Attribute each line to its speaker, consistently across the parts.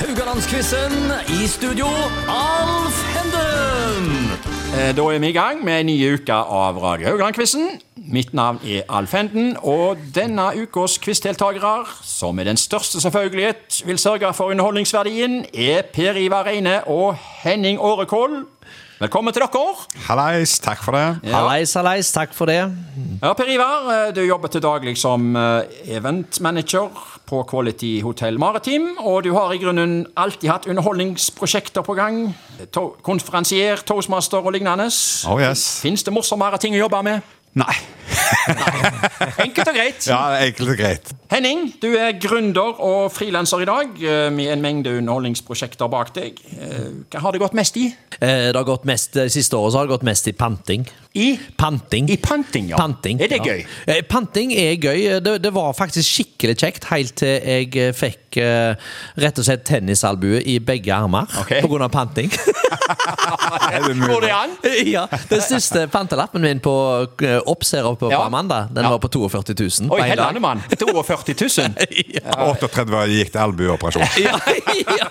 Speaker 1: Rogalandsquizen. I studio, Alf Henden.
Speaker 2: Eh, Da er vi i gang med en ny uke av Radio Haugland-quizen. Mitt navn er Alf Henden, og denne ukas quizdeltakere, som med den største selvfølgelighet vil sørge for underholdningsverdien, er Per Ivar Reine og Henning Årekål. Velkommen til dere.
Speaker 3: Hallais, takk for det.
Speaker 1: Hallais, hallais. Takk for det.
Speaker 2: Ja, Per Ivar, eh, du jobber til daglig som eh, eventmanager på Quality Hotel Maritim, og du har i grunnen alltid hatt underholdningsprosjekter på gang. To konferansier, toastmaster og lignende.
Speaker 3: Oh yes.
Speaker 2: Fins det morsommere ting å jobbe med?
Speaker 3: Nei.
Speaker 2: Enkelt og greit.
Speaker 3: Ja, enkelt og greit.
Speaker 2: Henning, du er gründer og frilanser i dag, eh, med en mengde underholdningsprosjekter bak deg. Eh, Hva har det gått mest i?
Speaker 1: Eh, Det har gått mest, det siste året så har det gått mest i panting.
Speaker 2: I?
Speaker 1: Panting.
Speaker 2: I panting, ja.
Speaker 1: Panting.
Speaker 2: Er det
Speaker 1: ja.
Speaker 2: gøy?
Speaker 1: Eh, Panting er gøy. Eh, Det, det var faktisk skikkelig kjekt helt til jeg eh, fikk eh, rett og slett tennisalbue i begge armer
Speaker 2: Ok.
Speaker 1: på grunn av panting.
Speaker 3: Er det
Speaker 2: Går det
Speaker 3: mulig?
Speaker 2: an?
Speaker 1: ja, Den siste pantelappen min på eh, Oppser oppe på
Speaker 2: Ja.
Speaker 1: Amanda, den
Speaker 2: Ja.
Speaker 1: var på 42 000. på
Speaker 2: Oi,
Speaker 1: en dag.
Speaker 2: hellene, mann. 42 000.
Speaker 1: ja.
Speaker 3: 38 år gikk til albueoperasjon.
Speaker 1: ja, ja.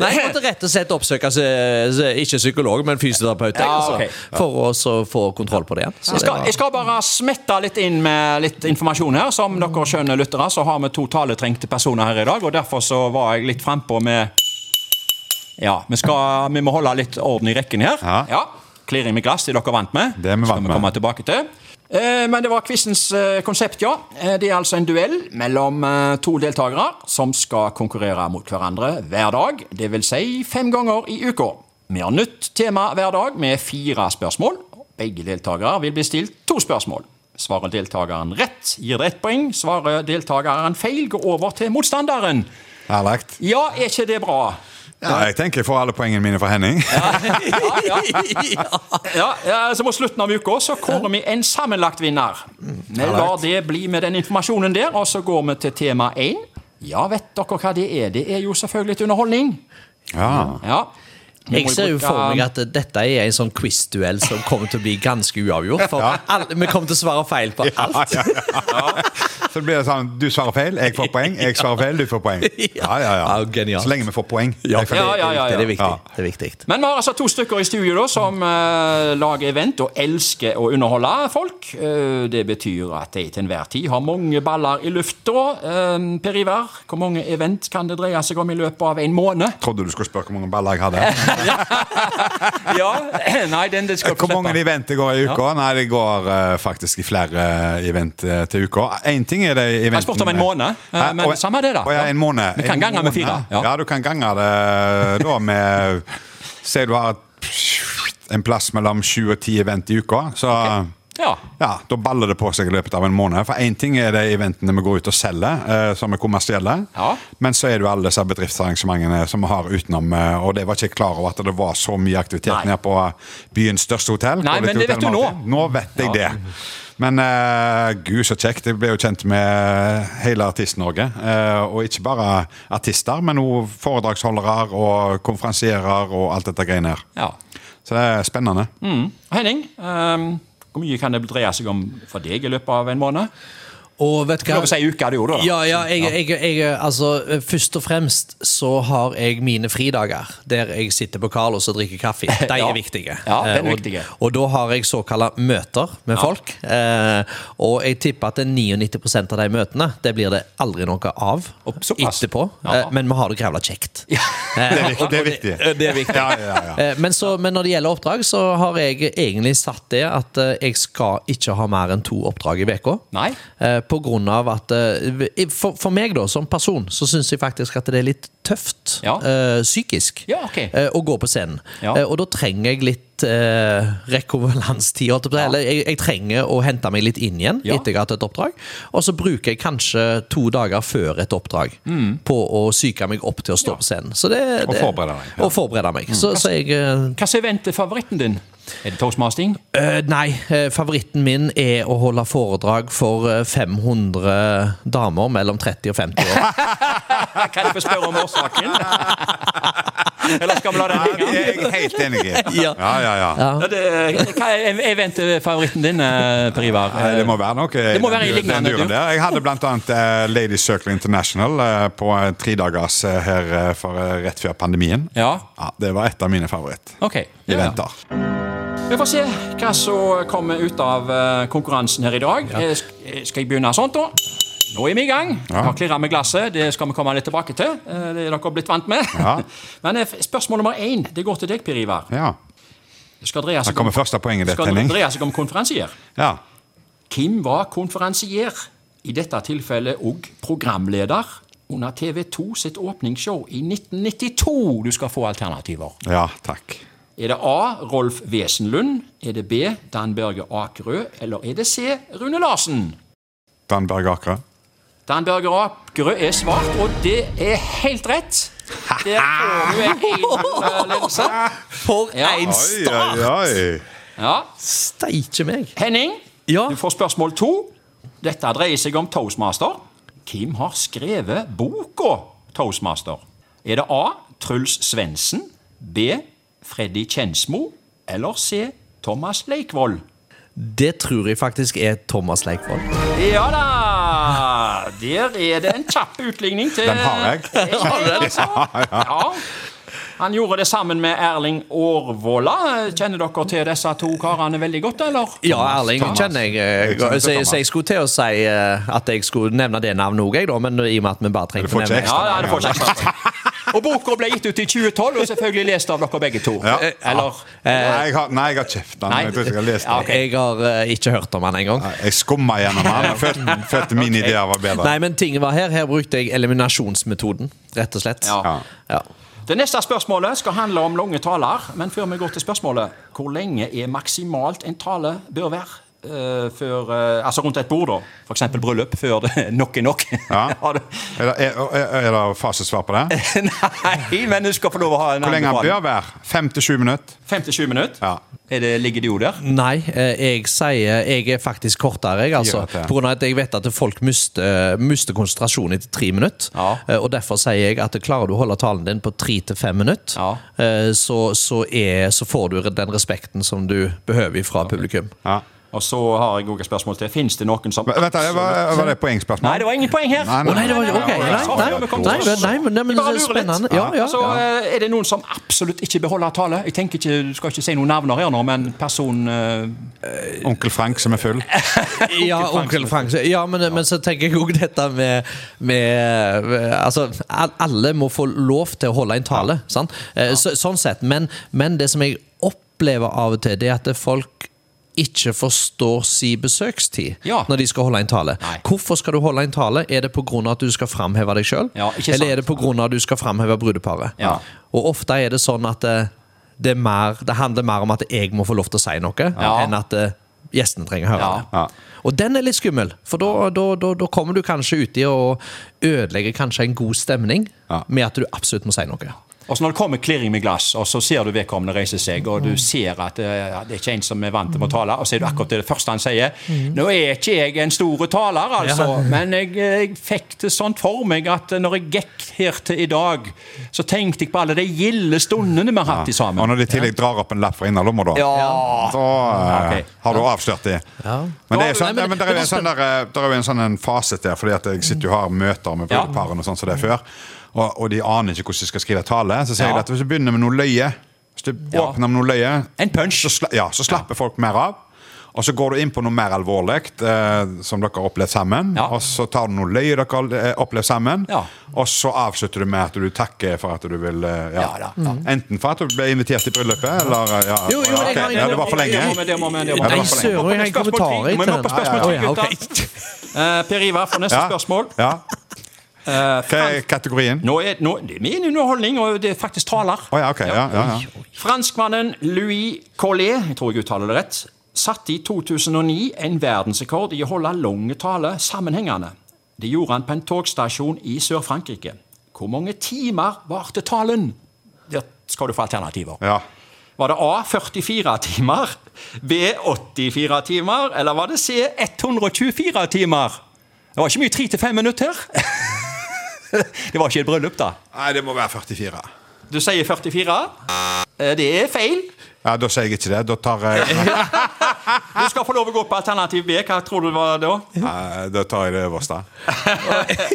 Speaker 1: Nei, jeg måtte rett og slett oppsøke altså, ikke psykolog, men fysioterapeut.
Speaker 2: Ja,
Speaker 1: altså,
Speaker 2: ok.
Speaker 1: For å så få kontroll på det igjen. Så
Speaker 2: Jeg
Speaker 1: det
Speaker 2: skal,
Speaker 1: var-
Speaker 2: jeg skal bare smette litt inn med litt informasjon her. Som dere skjønner, lyttere, så har vi to taletrengte personer her i dag. Og derfor så var jeg litt frampå med Ja, vi, skal, vi må holde litt orden i rekken her.
Speaker 3: Ja.
Speaker 2: Klirring med glass, det dere vant med.
Speaker 3: Det er vi
Speaker 2: skal
Speaker 3: vant
Speaker 2: vi
Speaker 3: med.
Speaker 2: komme tilbake til. Eh, Men det var quizens eh, konsept, ja. Eh, Det er altså en duell mellom eh, to deltakere som skal konkurrere mot hverandre hver dag. Det vil si fem ganger i uka. Vi har nytt tema hver dag med fire spørsmål. Begge deltakere vil bli stilt to spørsmål. Svarer deltakeren rett, gir det ett poeng. Svarer deltakeren feil, går over til motstanderen.
Speaker 3: Herlig.
Speaker 2: Ja, er ikke det bra?
Speaker 3: Ja, jeg tenker jeg får alle poengene mine fra Henning.
Speaker 2: Ja, ja, så Mot slutten av uka så kårer vi en sammenlagt vinner.
Speaker 1: Mm.
Speaker 2: Vi lar det bli med den informasjonen der, og så går vi til tema én. Ja, vet dere hva det er? Det er jo selvfølgelig litt underholdning.
Speaker 3: Ja.
Speaker 2: Ja. Vi må
Speaker 1: Jeg ser jo
Speaker 2: bruke-
Speaker 1: for meg at dette er en sånn quiz-duell som kommer til å bli ganske uavgjort. For alle, vi kommer til å svare feil på alt.
Speaker 3: ja, ja. Så det blir sånn du svarer feil, jeg får poeng. Jeg svarer feil, du får poeng. Ja, ja,
Speaker 1: Ja,
Speaker 3: ja.
Speaker 1: genialt.
Speaker 3: Så lenge vi får poeng. Jeg får-
Speaker 2: ja, ja, ja, ja.
Speaker 1: Det er viktig.
Speaker 3: Ja.
Speaker 1: Det er viktig.
Speaker 2: Men vi har altså to stykker i studio da, som eh, lager event og elsker å underholde folk. Eh, det betyr at de til enhver tid har mange baller i lufta. Eh, per Ivar, hvor mange event kan det dreie seg om i løpet av en måned?
Speaker 3: Trodde du skulle spørre hvor mange baller jeg hadde.
Speaker 2: Ja, nei, den, den skal
Speaker 3: Hvor mange
Speaker 2: slippe.
Speaker 3: event det går i uka? Nei, det går eh, faktisk i flere eh, event eh, til uka. Én ting er det eventene
Speaker 2: Jeg spurte om en måned, eh,
Speaker 3: Hæ?
Speaker 2: men
Speaker 3: Å,
Speaker 2: samme det da.
Speaker 3: å, Ja, en måned.
Speaker 2: Vi kan
Speaker 3: En
Speaker 2: gange med
Speaker 3: måned.
Speaker 2: fire, ja.
Speaker 3: Ja, du kan gange det eh, da med Si du har en plass mellom sju og ti event i uka. Så
Speaker 2: Ja.
Speaker 3: Ja, Da baller det på seg i løpet av en måned. For én ting er de eventene vi går ut og selger, eh, som er kommersielle.
Speaker 2: Ja.
Speaker 3: Men så er det jo alle disse bedriftsarrangementene som vi har utenom. Eh, og det var ikke jeg klar over at det var så mye aktivitet
Speaker 2: Nei.
Speaker 3: nede på eh, byens største hotell.
Speaker 2: Nei,
Speaker 3: Quality
Speaker 2: men det
Speaker 3: Hotel
Speaker 2: vet du nå.
Speaker 3: Martin. Nå vet jeg det. Men eh, gud, så kjekt. Jeg ble jo kjent med hele Artist-Norge. Eh, og ikke bare artister, men òg foredragsholdere og konferansierer og alt dette greiene her.
Speaker 2: Ja.
Speaker 3: Så det er spennende.
Speaker 2: Mm. Henning, ehm, hvor mye kan det dreie seg om for deg i løpet av en måned?
Speaker 1: Og vet du hva
Speaker 2: Lov å si uke, det gjorde du, da.
Speaker 1: Ja, ja, jeg, jeg, jeg, altså, først og fremst så har jeg mine fridager der jeg sitter på Carlos og drikker kaffe. De er
Speaker 2: Ja.
Speaker 1: viktige.
Speaker 2: Ja, den er
Speaker 1: Eh, og,
Speaker 2: viktige.
Speaker 1: Og da har jeg såkalte møter med folk. Eh, og jeg tipper at 99 av de møtene det blir det aldri noe av
Speaker 2: Og såpass.
Speaker 1: etterpå.
Speaker 2: Ja.
Speaker 1: Eh, men vi har det jævla kjekt. Eh,
Speaker 3: Det er viktig. Det er
Speaker 1: og
Speaker 3: viktig.
Speaker 1: eh, det er viktig.
Speaker 3: Ja, ja, ja.
Speaker 1: Eh, Men, så, men når det gjelder oppdrag, så har jeg egentlig satt det at eh, jeg skal ikke ha mer enn to oppdrag i veka.
Speaker 2: Nei.
Speaker 1: Eh, På grunn av at eh, For, for meg, da, som person, så syns jeg faktisk at det er litt tøft
Speaker 2: Ja.
Speaker 1: eh, psykisk
Speaker 2: Ja, ok.
Speaker 1: eh, å gå på scenen.
Speaker 2: Ja.
Speaker 1: Eh, Og da trenger jeg litt eh, rekonvalenstid. holdt jeg på å si. Eller jeg, jeg trenger å hente meg litt inn igjen
Speaker 2: Ja.
Speaker 1: etter jeg har hatt et oppdrag. Og så bruker jeg kanskje to dager før et oppdrag
Speaker 2: Mm.
Speaker 1: på å psyke meg opp til å stå på scenen. Så det,
Speaker 3: Og
Speaker 1: det,
Speaker 3: forberede deg, ja.
Speaker 1: Og forberede
Speaker 2: Mm.
Speaker 1: meg. Så, så jeg eh,
Speaker 2: Hva som er ventefavoritten din? Er det toastmasting?
Speaker 1: Eh, nei, eh, favoritten min er å holde foredrag for eh, 500 damer mellom 30 og 50 år.
Speaker 2: Kan jeg få spørre om årsaken? Eller skal vi la det
Speaker 3: Ja, det
Speaker 2: henge?
Speaker 3: er jeg helt enig i.
Speaker 1: Ja.
Speaker 3: Ja, ja, ja.
Speaker 1: Ja.
Speaker 2: Ja, det, hva er eventfavoritten din, eh, Per Ivar?
Speaker 3: Nei, det må være noe. eh, Det
Speaker 2: må være i lignende, du.
Speaker 3: Jeg hadde blant annet eh, Ladies Circle International eh, på en tredagers eh, her eh, for, eh, rett før pandemien.
Speaker 2: Ja.
Speaker 3: Ja, det var et av mine favoritt.
Speaker 2: Eh, OK.
Speaker 3: Vi
Speaker 2: Ja.
Speaker 3: venter.
Speaker 2: Vi får se hva som kommer ut av eh, konkurransen her i dag. Eh, sk- Skal jeg begynne sånn, da? Nå er vi i gang. Jeg har klirret med glasset. Det skal vi komme litt tilbake til. Eh, Det er dere blitt vant med.
Speaker 3: Ja.
Speaker 2: Men eh, spørsmål nummer én det går til deg, Per Ivar.
Speaker 3: Ja.
Speaker 2: Det skal dreie
Speaker 3: Her
Speaker 2: seg om,
Speaker 3: kommer første poenget ditt,
Speaker 2: skal
Speaker 3: Henning.
Speaker 2: dreie seg om konferansier.
Speaker 3: Ja.
Speaker 2: Hvem var konferansier? I dette tilfellet òg programleder under TV 2 sitt åpningsshow i 1992. Du skal få alternativer.
Speaker 3: ja, takk.
Speaker 2: Er det A. Rolf Wesenlund? Er det B. Dan Børge Akerø? Eller er det C. Rune Larsen?
Speaker 3: Dan Berg Akerø.
Speaker 2: Dan Børge Akerø er svart, og det er helt rett. Der får du en egen ledelse.
Speaker 1: For
Speaker 2: Ja.
Speaker 1: en
Speaker 3: Oi, oi,
Speaker 1: start!
Speaker 3: oi.
Speaker 2: Ja.
Speaker 1: Steike meg.
Speaker 2: Henning,
Speaker 1: Ja.
Speaker 2: du får spørsmål to. Dette dreier seg om Toastmaster. Hvem har skrevet boka Toastmaster? Er det A. Truls Svendsen? B. Freddy Kjensmo? Eller C. Thomas Leikvoll?
Speaker 1: Det tror jeg faktisk er Thomas Leikvoll.
Speaker 2: Ja da! Der er det en kjapp utligning til
Speaker 3: Den har jeg.
Speaker 2: Altså. Ja. Han gjorde det sammen med Erling Årvåla. Kjenner dere til disse to karene veldig godt, eller?
Speaker 1: Ja, Erling
Speaker 3: Thomas.
Speaker 1: kjenner jeg. eh,
Speaker 3: Jeg kjenner
Speaker 1: Så jeg,
Speaker 3: Thomas.
Speaker 1: så jeg skulle til å si eh, at jeg skulle nevne det navnet òg, jeg, da, men i og med at vi bare
Speaker 3: Du
Speaker 1: trengte å
Speaker 3: får ikke
Speaker 1: nevne
Speaker 2: Ja,
Speaker 3: ekstra.
Speaker 2: ja, det får ikke ekstra poeng. Og boka ble gitt ut i 2012, og selvfølgelig lest av dere begge to.
Speaker 3: Ja.
Speaker 1: Eh,
Speaker 2: Eller?
Speaker 3: Nei, jeg har, nei, jeg har kjeft den.
Speaker 2: Eh. Nei.
Speaker 3: Jeg tror ikke jeg har lest
Speaker 2: Ja,
Speaker 3: den.
Speaker 2: ok.
Speaker 1: Jeg har eh, ikke hørt om han engang.
Speaker 3: Jeg skumma gjennom den. Jeg følte, følte mine ideer var bedre.
Speaker 1: Nei, men tingen var her. Her brukte jeg eliminasjonsmetoden, rett og slett.
Speaker 2: Ja.
Speaker 3: Ja.
Speaker 1: Ja.
Speaker 2: Det neste spørsmålet skal handle om lange taler, men før vi går til spørsmålet Hvor lenge er maksimalt en tale bør være? eh, før, eh, altså rundt et bord, da. F.eks. bryllup, før det nok er nok.
Speaker 3: Ja.
Speaker 2: Har du-
Speaker 3: Er det, er, er- er det fasesvar på det?
Speaker 2: Nei, men du skal få lov å ha en
Speaker 3: Hvor lenge han
Speaker 2: anbefaling.
Speaker 3: bør være? Fem til sju minutter?
Speaker 2: Fem til sju minutter?
Speaker 3: Ja.
Speaker 2: Er det, ligger det jo der?
Speaker 1: Nei, eh, jeg sier Jeg er faktisk kortere, jeg, altså.
Speaker 3: Gjør det.
Speaker 1: På grunn av at jeg vet at folk mister, eh, mister konsentrasjonen etter tre minutter.
Speaker 2: Ja.
Speaker 1: Eh, Og derfor sier jeg at klarer du å holde talen din på tre til fem minutter,
Speaker 2: Ja.
Speaker 1: eh, så, så, er, så får du den respekten som du behøver fra publikum.
Speaker 3: Ja.
Speaker 2: Og så har jeg også et spørsmål til. Fins det noen som
Speaker 3: Vent, da, var, var det et poengspørsmål?
Speaker 2: Nei, det var ingen poeng her.
Speaker 3: Nei,
Speaker 1: Å nei, det var ok, nei, nei, nei,
Speaker 2: Sorry, vi kom til
Speaker 1: nei,
Speaker 2: oss.
Speaker 1: nei, men- nei, men
Speaker 2: Vi bare
Speaker 1: det er
Speaker 2: lurer litt.
Speaker 1: spennende. Ja, ja.
Speaker 2: Så eh, er det noen som absolutt ikke bør holde tale. Jeg tenker ikke, Du skal ikke si noen navner her nå, men person eh,
Speaker 3: Onkel Frank som er full?
Speaker 1: Ja, onkel Frank. Ja, men, men så tenker jeg òg dette med, med Altså, al- alle må få lov til å holde en tale, sant? Eh, Så, sånn sett. Men, men det som jeg opplever av og til, det er at folk ikke forstår si besøkstid
Speaker 2: Ja.
Speaker 1: når de skal holde en tale.
Speaker 2: Nei.
Speaker 1: Hvorfor skal du holde en tale? Er det pga. at du skal framheve deg sjøl,
Speaker 2: Ja, ikke sant.
Speaker 1: eller er det pga. at du skal framheve brudeparet?
Speaker 2: Ja.
Speaker 1: Og ofte er det sånn at eh, det, er mer, det handler mer om at jeg må få lov til å si noe,
Speaker 2: Ja.
Speaker 1: enn at eh, gjestene trenger å høre
Speaker 2: Ja.
Speaker 1: det.
Speaker 3: Ja.
Speaker 1: Og den er litt skummel, for da, da, da, da kommer du kanskje uti og ødelegger kanskje en god stemning
Speaker 3: Ja.
Speaker 1: med at du absolutt må si noe.
Speaker 2: Og så Når det kommer klirring med glass, og så ser du vedkommende reise seg, og
Speaker 1: Mm.
Speaker 2: du ser at eh, det er ikke en som er vant til å tale, og så er det akkurat det første han sier.
Speaker 1: Mm.
Speaker 2: 'Nå er ikke jeg en stor taler, altså, men jeg, jeg fikk det sånn for meg at når jeg gikk her til i dag, så tenkte jeg på alle de gilde stundene vi har hatt i
Speaker 3: Og
Speaker 2: sammen.
Speaker 3: når de i tillegg drar opp en lapp fra innerlomma, da,
Speaker 2: Ja.
Speaker 3: da eh,
Speaker 2: Ok.
Speaker 3: har du avslørt de.
Speaker 1: Ja.
Speaker 3: Men det
Speaker 1: Nei,
Speaker 3: er jo sånn,
Speaker 1: men-
Speaker 3: ja, men der er jo en sånn, der, eh, der er jo en sånn en fase der, fordi at jeg sitter jo og har møter med
Speaker 2: Ja.
Speaker 3: brudeparene og sånn som det er før, og, og de aner ikke hvordan de skal skrive tale. Så sier
Speaker 2: Ja.
Speaker 3: jeg at hvis du begynner med noe løye, hvis du
Speaker 2: Ja.
Speaker 3: åpner med noe løye,
Speaker 2: En punch.
Speaker 3: så, sla ja, så slapper folk mer av. Og så går du inn på noe mer alvorlig eh, som dere har opplevd sammen.
Speaker 2: Ja.
Speaker 3: Og så tar du noe løye dere har eh, opplevd sammen.
Speaker 2: Ja.
Speaker 3: Og så avslutter du med at du takker for at du vil eh, ja.
Speaker 2: Ja, da.
Speaker 3: Enten for at du ble invitert i bryllupet, eller eh, ja,
Speaker 1: Jo, jo, men jeg
Speaker 3: ok.
Speaker 1: har ingen-
Speaker 3: ja, det var for
Speaker 2: Det
Speaker 3: lenge.
Speaker 2: må vi- det må vi- det må vi-
Speaker 3: Ja, det
Speaker 1: Nei,
Speaker 3: var for lenge.
Speaker 1: søren, jeg har en
Speaker 2: Spørsmål ti.
Speaker 1: kommentar i
Speaker 2: Må vi
Speaker 1: til
Speaker 2: opp på spørsmål
Speaker 1: den.
Speaker 2: ti,
Speaker 1: Å, ja, ok.
Speaker 2: Eh, per Ivar, for neste spørsmål. Eh,
Speaker 3: Ja. Hva er kategorien? Å
Speaker 2: Nå er, nå, det er min underholdning, og det er faktisk taler.
Speaker 3: ja, ok. Ja, ja, ja.
Speaker 2: Franskmannen Louis Collet, jeg tror jeg uttaler det rett, satte i 2009 en verdensrekord i å holde lange taler sammenhengende. Det gjorde han på en togstasjon i Sør-Frankrike. Hvor mange timer varte talen? Der skal du få alternativer.
Speaker 3: ja.
Speaker 2: Var det A 44 timer, B 84 timer, eller var det C 124 timer? Det var ikke mye 3-5 minutter. det var ikke et bryllup, da.
Speaker 3: Nei, det må være 44.
Speaker 2: Du sier 44. Eh, Det er feil.
Speaker 3: Ja, Da sier jeg ikke det. Da tar jeg,
Speaker 2: Du skal få lov å gå på alternativ B. Hva tror du det var da?
Speaker 3: eh, da tar jeg det øverste.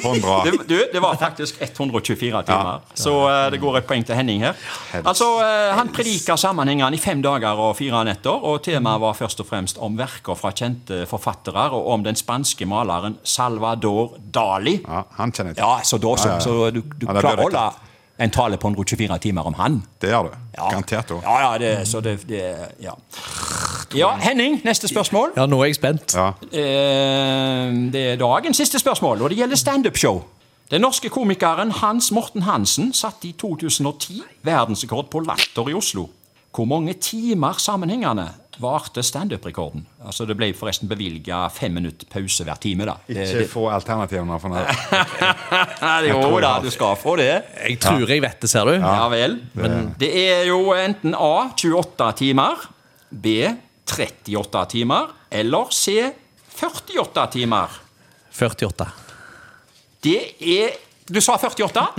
Speaker 3: 100.
Speaker 2: Det, du, det var faktisk 124 timer, så eh, det går et poeng til Henning her. Altså, eh, Han predika sammenhengene i fem dager og fire netter, og temaet var først og fremst om verker fra kjente forfattere og om den spanske maleren Salvador Dali.
Speaker 3: Ja, han kjenner jeg til.
Speaker 2: Ja, så da så,
Speaker 3: ja.
Speaker 2: så du, du
Speaker 3: Ja, det
Speaker 2: klarer å
Speaker 3: blir
Speaker 2: holde en tale på 124 timer om han.
Speaker 3: Det gjør du.
Speaker 2: Ja.
Speaker 3: Garantert òg.
Speaker 2: Ja, ja, det, så det, det ja. ja, Henning, neste spørsmål.
Speaker 1: Ja, nå er jeg spent.
Speaker 3: Ja.
Speaker 2: Eh, Det er dagens siste spørsmål, og det gjelder standup-show. Den norske komikeren Hans Morten Hansen satte i 2010 verdensrekord på Latter i Oslo. Hvor mange timer sammenhengende varte standup-rekorden? Altså, det ble forresten bevilga fem minutter pause hver time, da. Det,
Speaker 3: Ikke få alternativene for noe.
Speaker 2: Nei, jo
Speaker 3: tror jeg
Speaker 2: da,
Speaker 3: har-
Speaker 2: du skal få det.
Speaker 1: Jeg tror jeg vet det, ser du.
Speaker 2: Ja vel. Men det er jo enten A 28 timer, B 38 timer, eller C 48 timer.
Speaker 1: 48.
Speaker 2: Det er Du sa 48?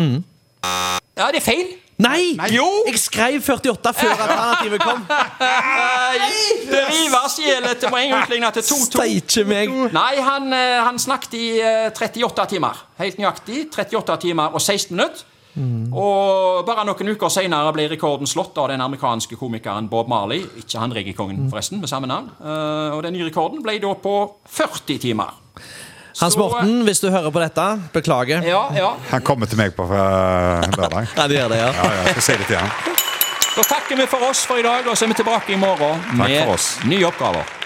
Speaker 2: Ja, det er feil.
Speaker 1: Nei!
Speaker 2: Jo!
Speaker 1: Jeg skrev 48 før alternativet kom.
Speaker 2: Nei! Det rives i hjel etter poeng utligna til 2-2.
Speaker 1: Steike meg.
Speaker 2: Nei, han, eh, han snakket i eh, 38 timer. Helt nøyaktig. 38 timer og 16 minutter. Og bare noen uker senere ble rekorden slått av den amerikanske komikeren Bob Marley. Ikke han reggaekongen, forresten, med samme navn. Eh, og den nye rekorden ble da på 40 timer.
Speaker 1: Hans
Speaker 2: Så,
Speaker 1: Morten, hvis du hører på dette, beklager.
Speaker 2: Ja, ja.
Speaker 3: Han kommer til meg på eh, lørdag.
Speaker 1: Ja, det gjør det, ja.
Speaker 3: Ja, ja, jeg skal si det til han.
Speaker 2: Da takker vi for oss for i dag, og så er vi tilbake i morgen
Speaker 3: Takk
Speaker 2: med
Speaker 3: for oss.
Speaker 2: nye oppgaver.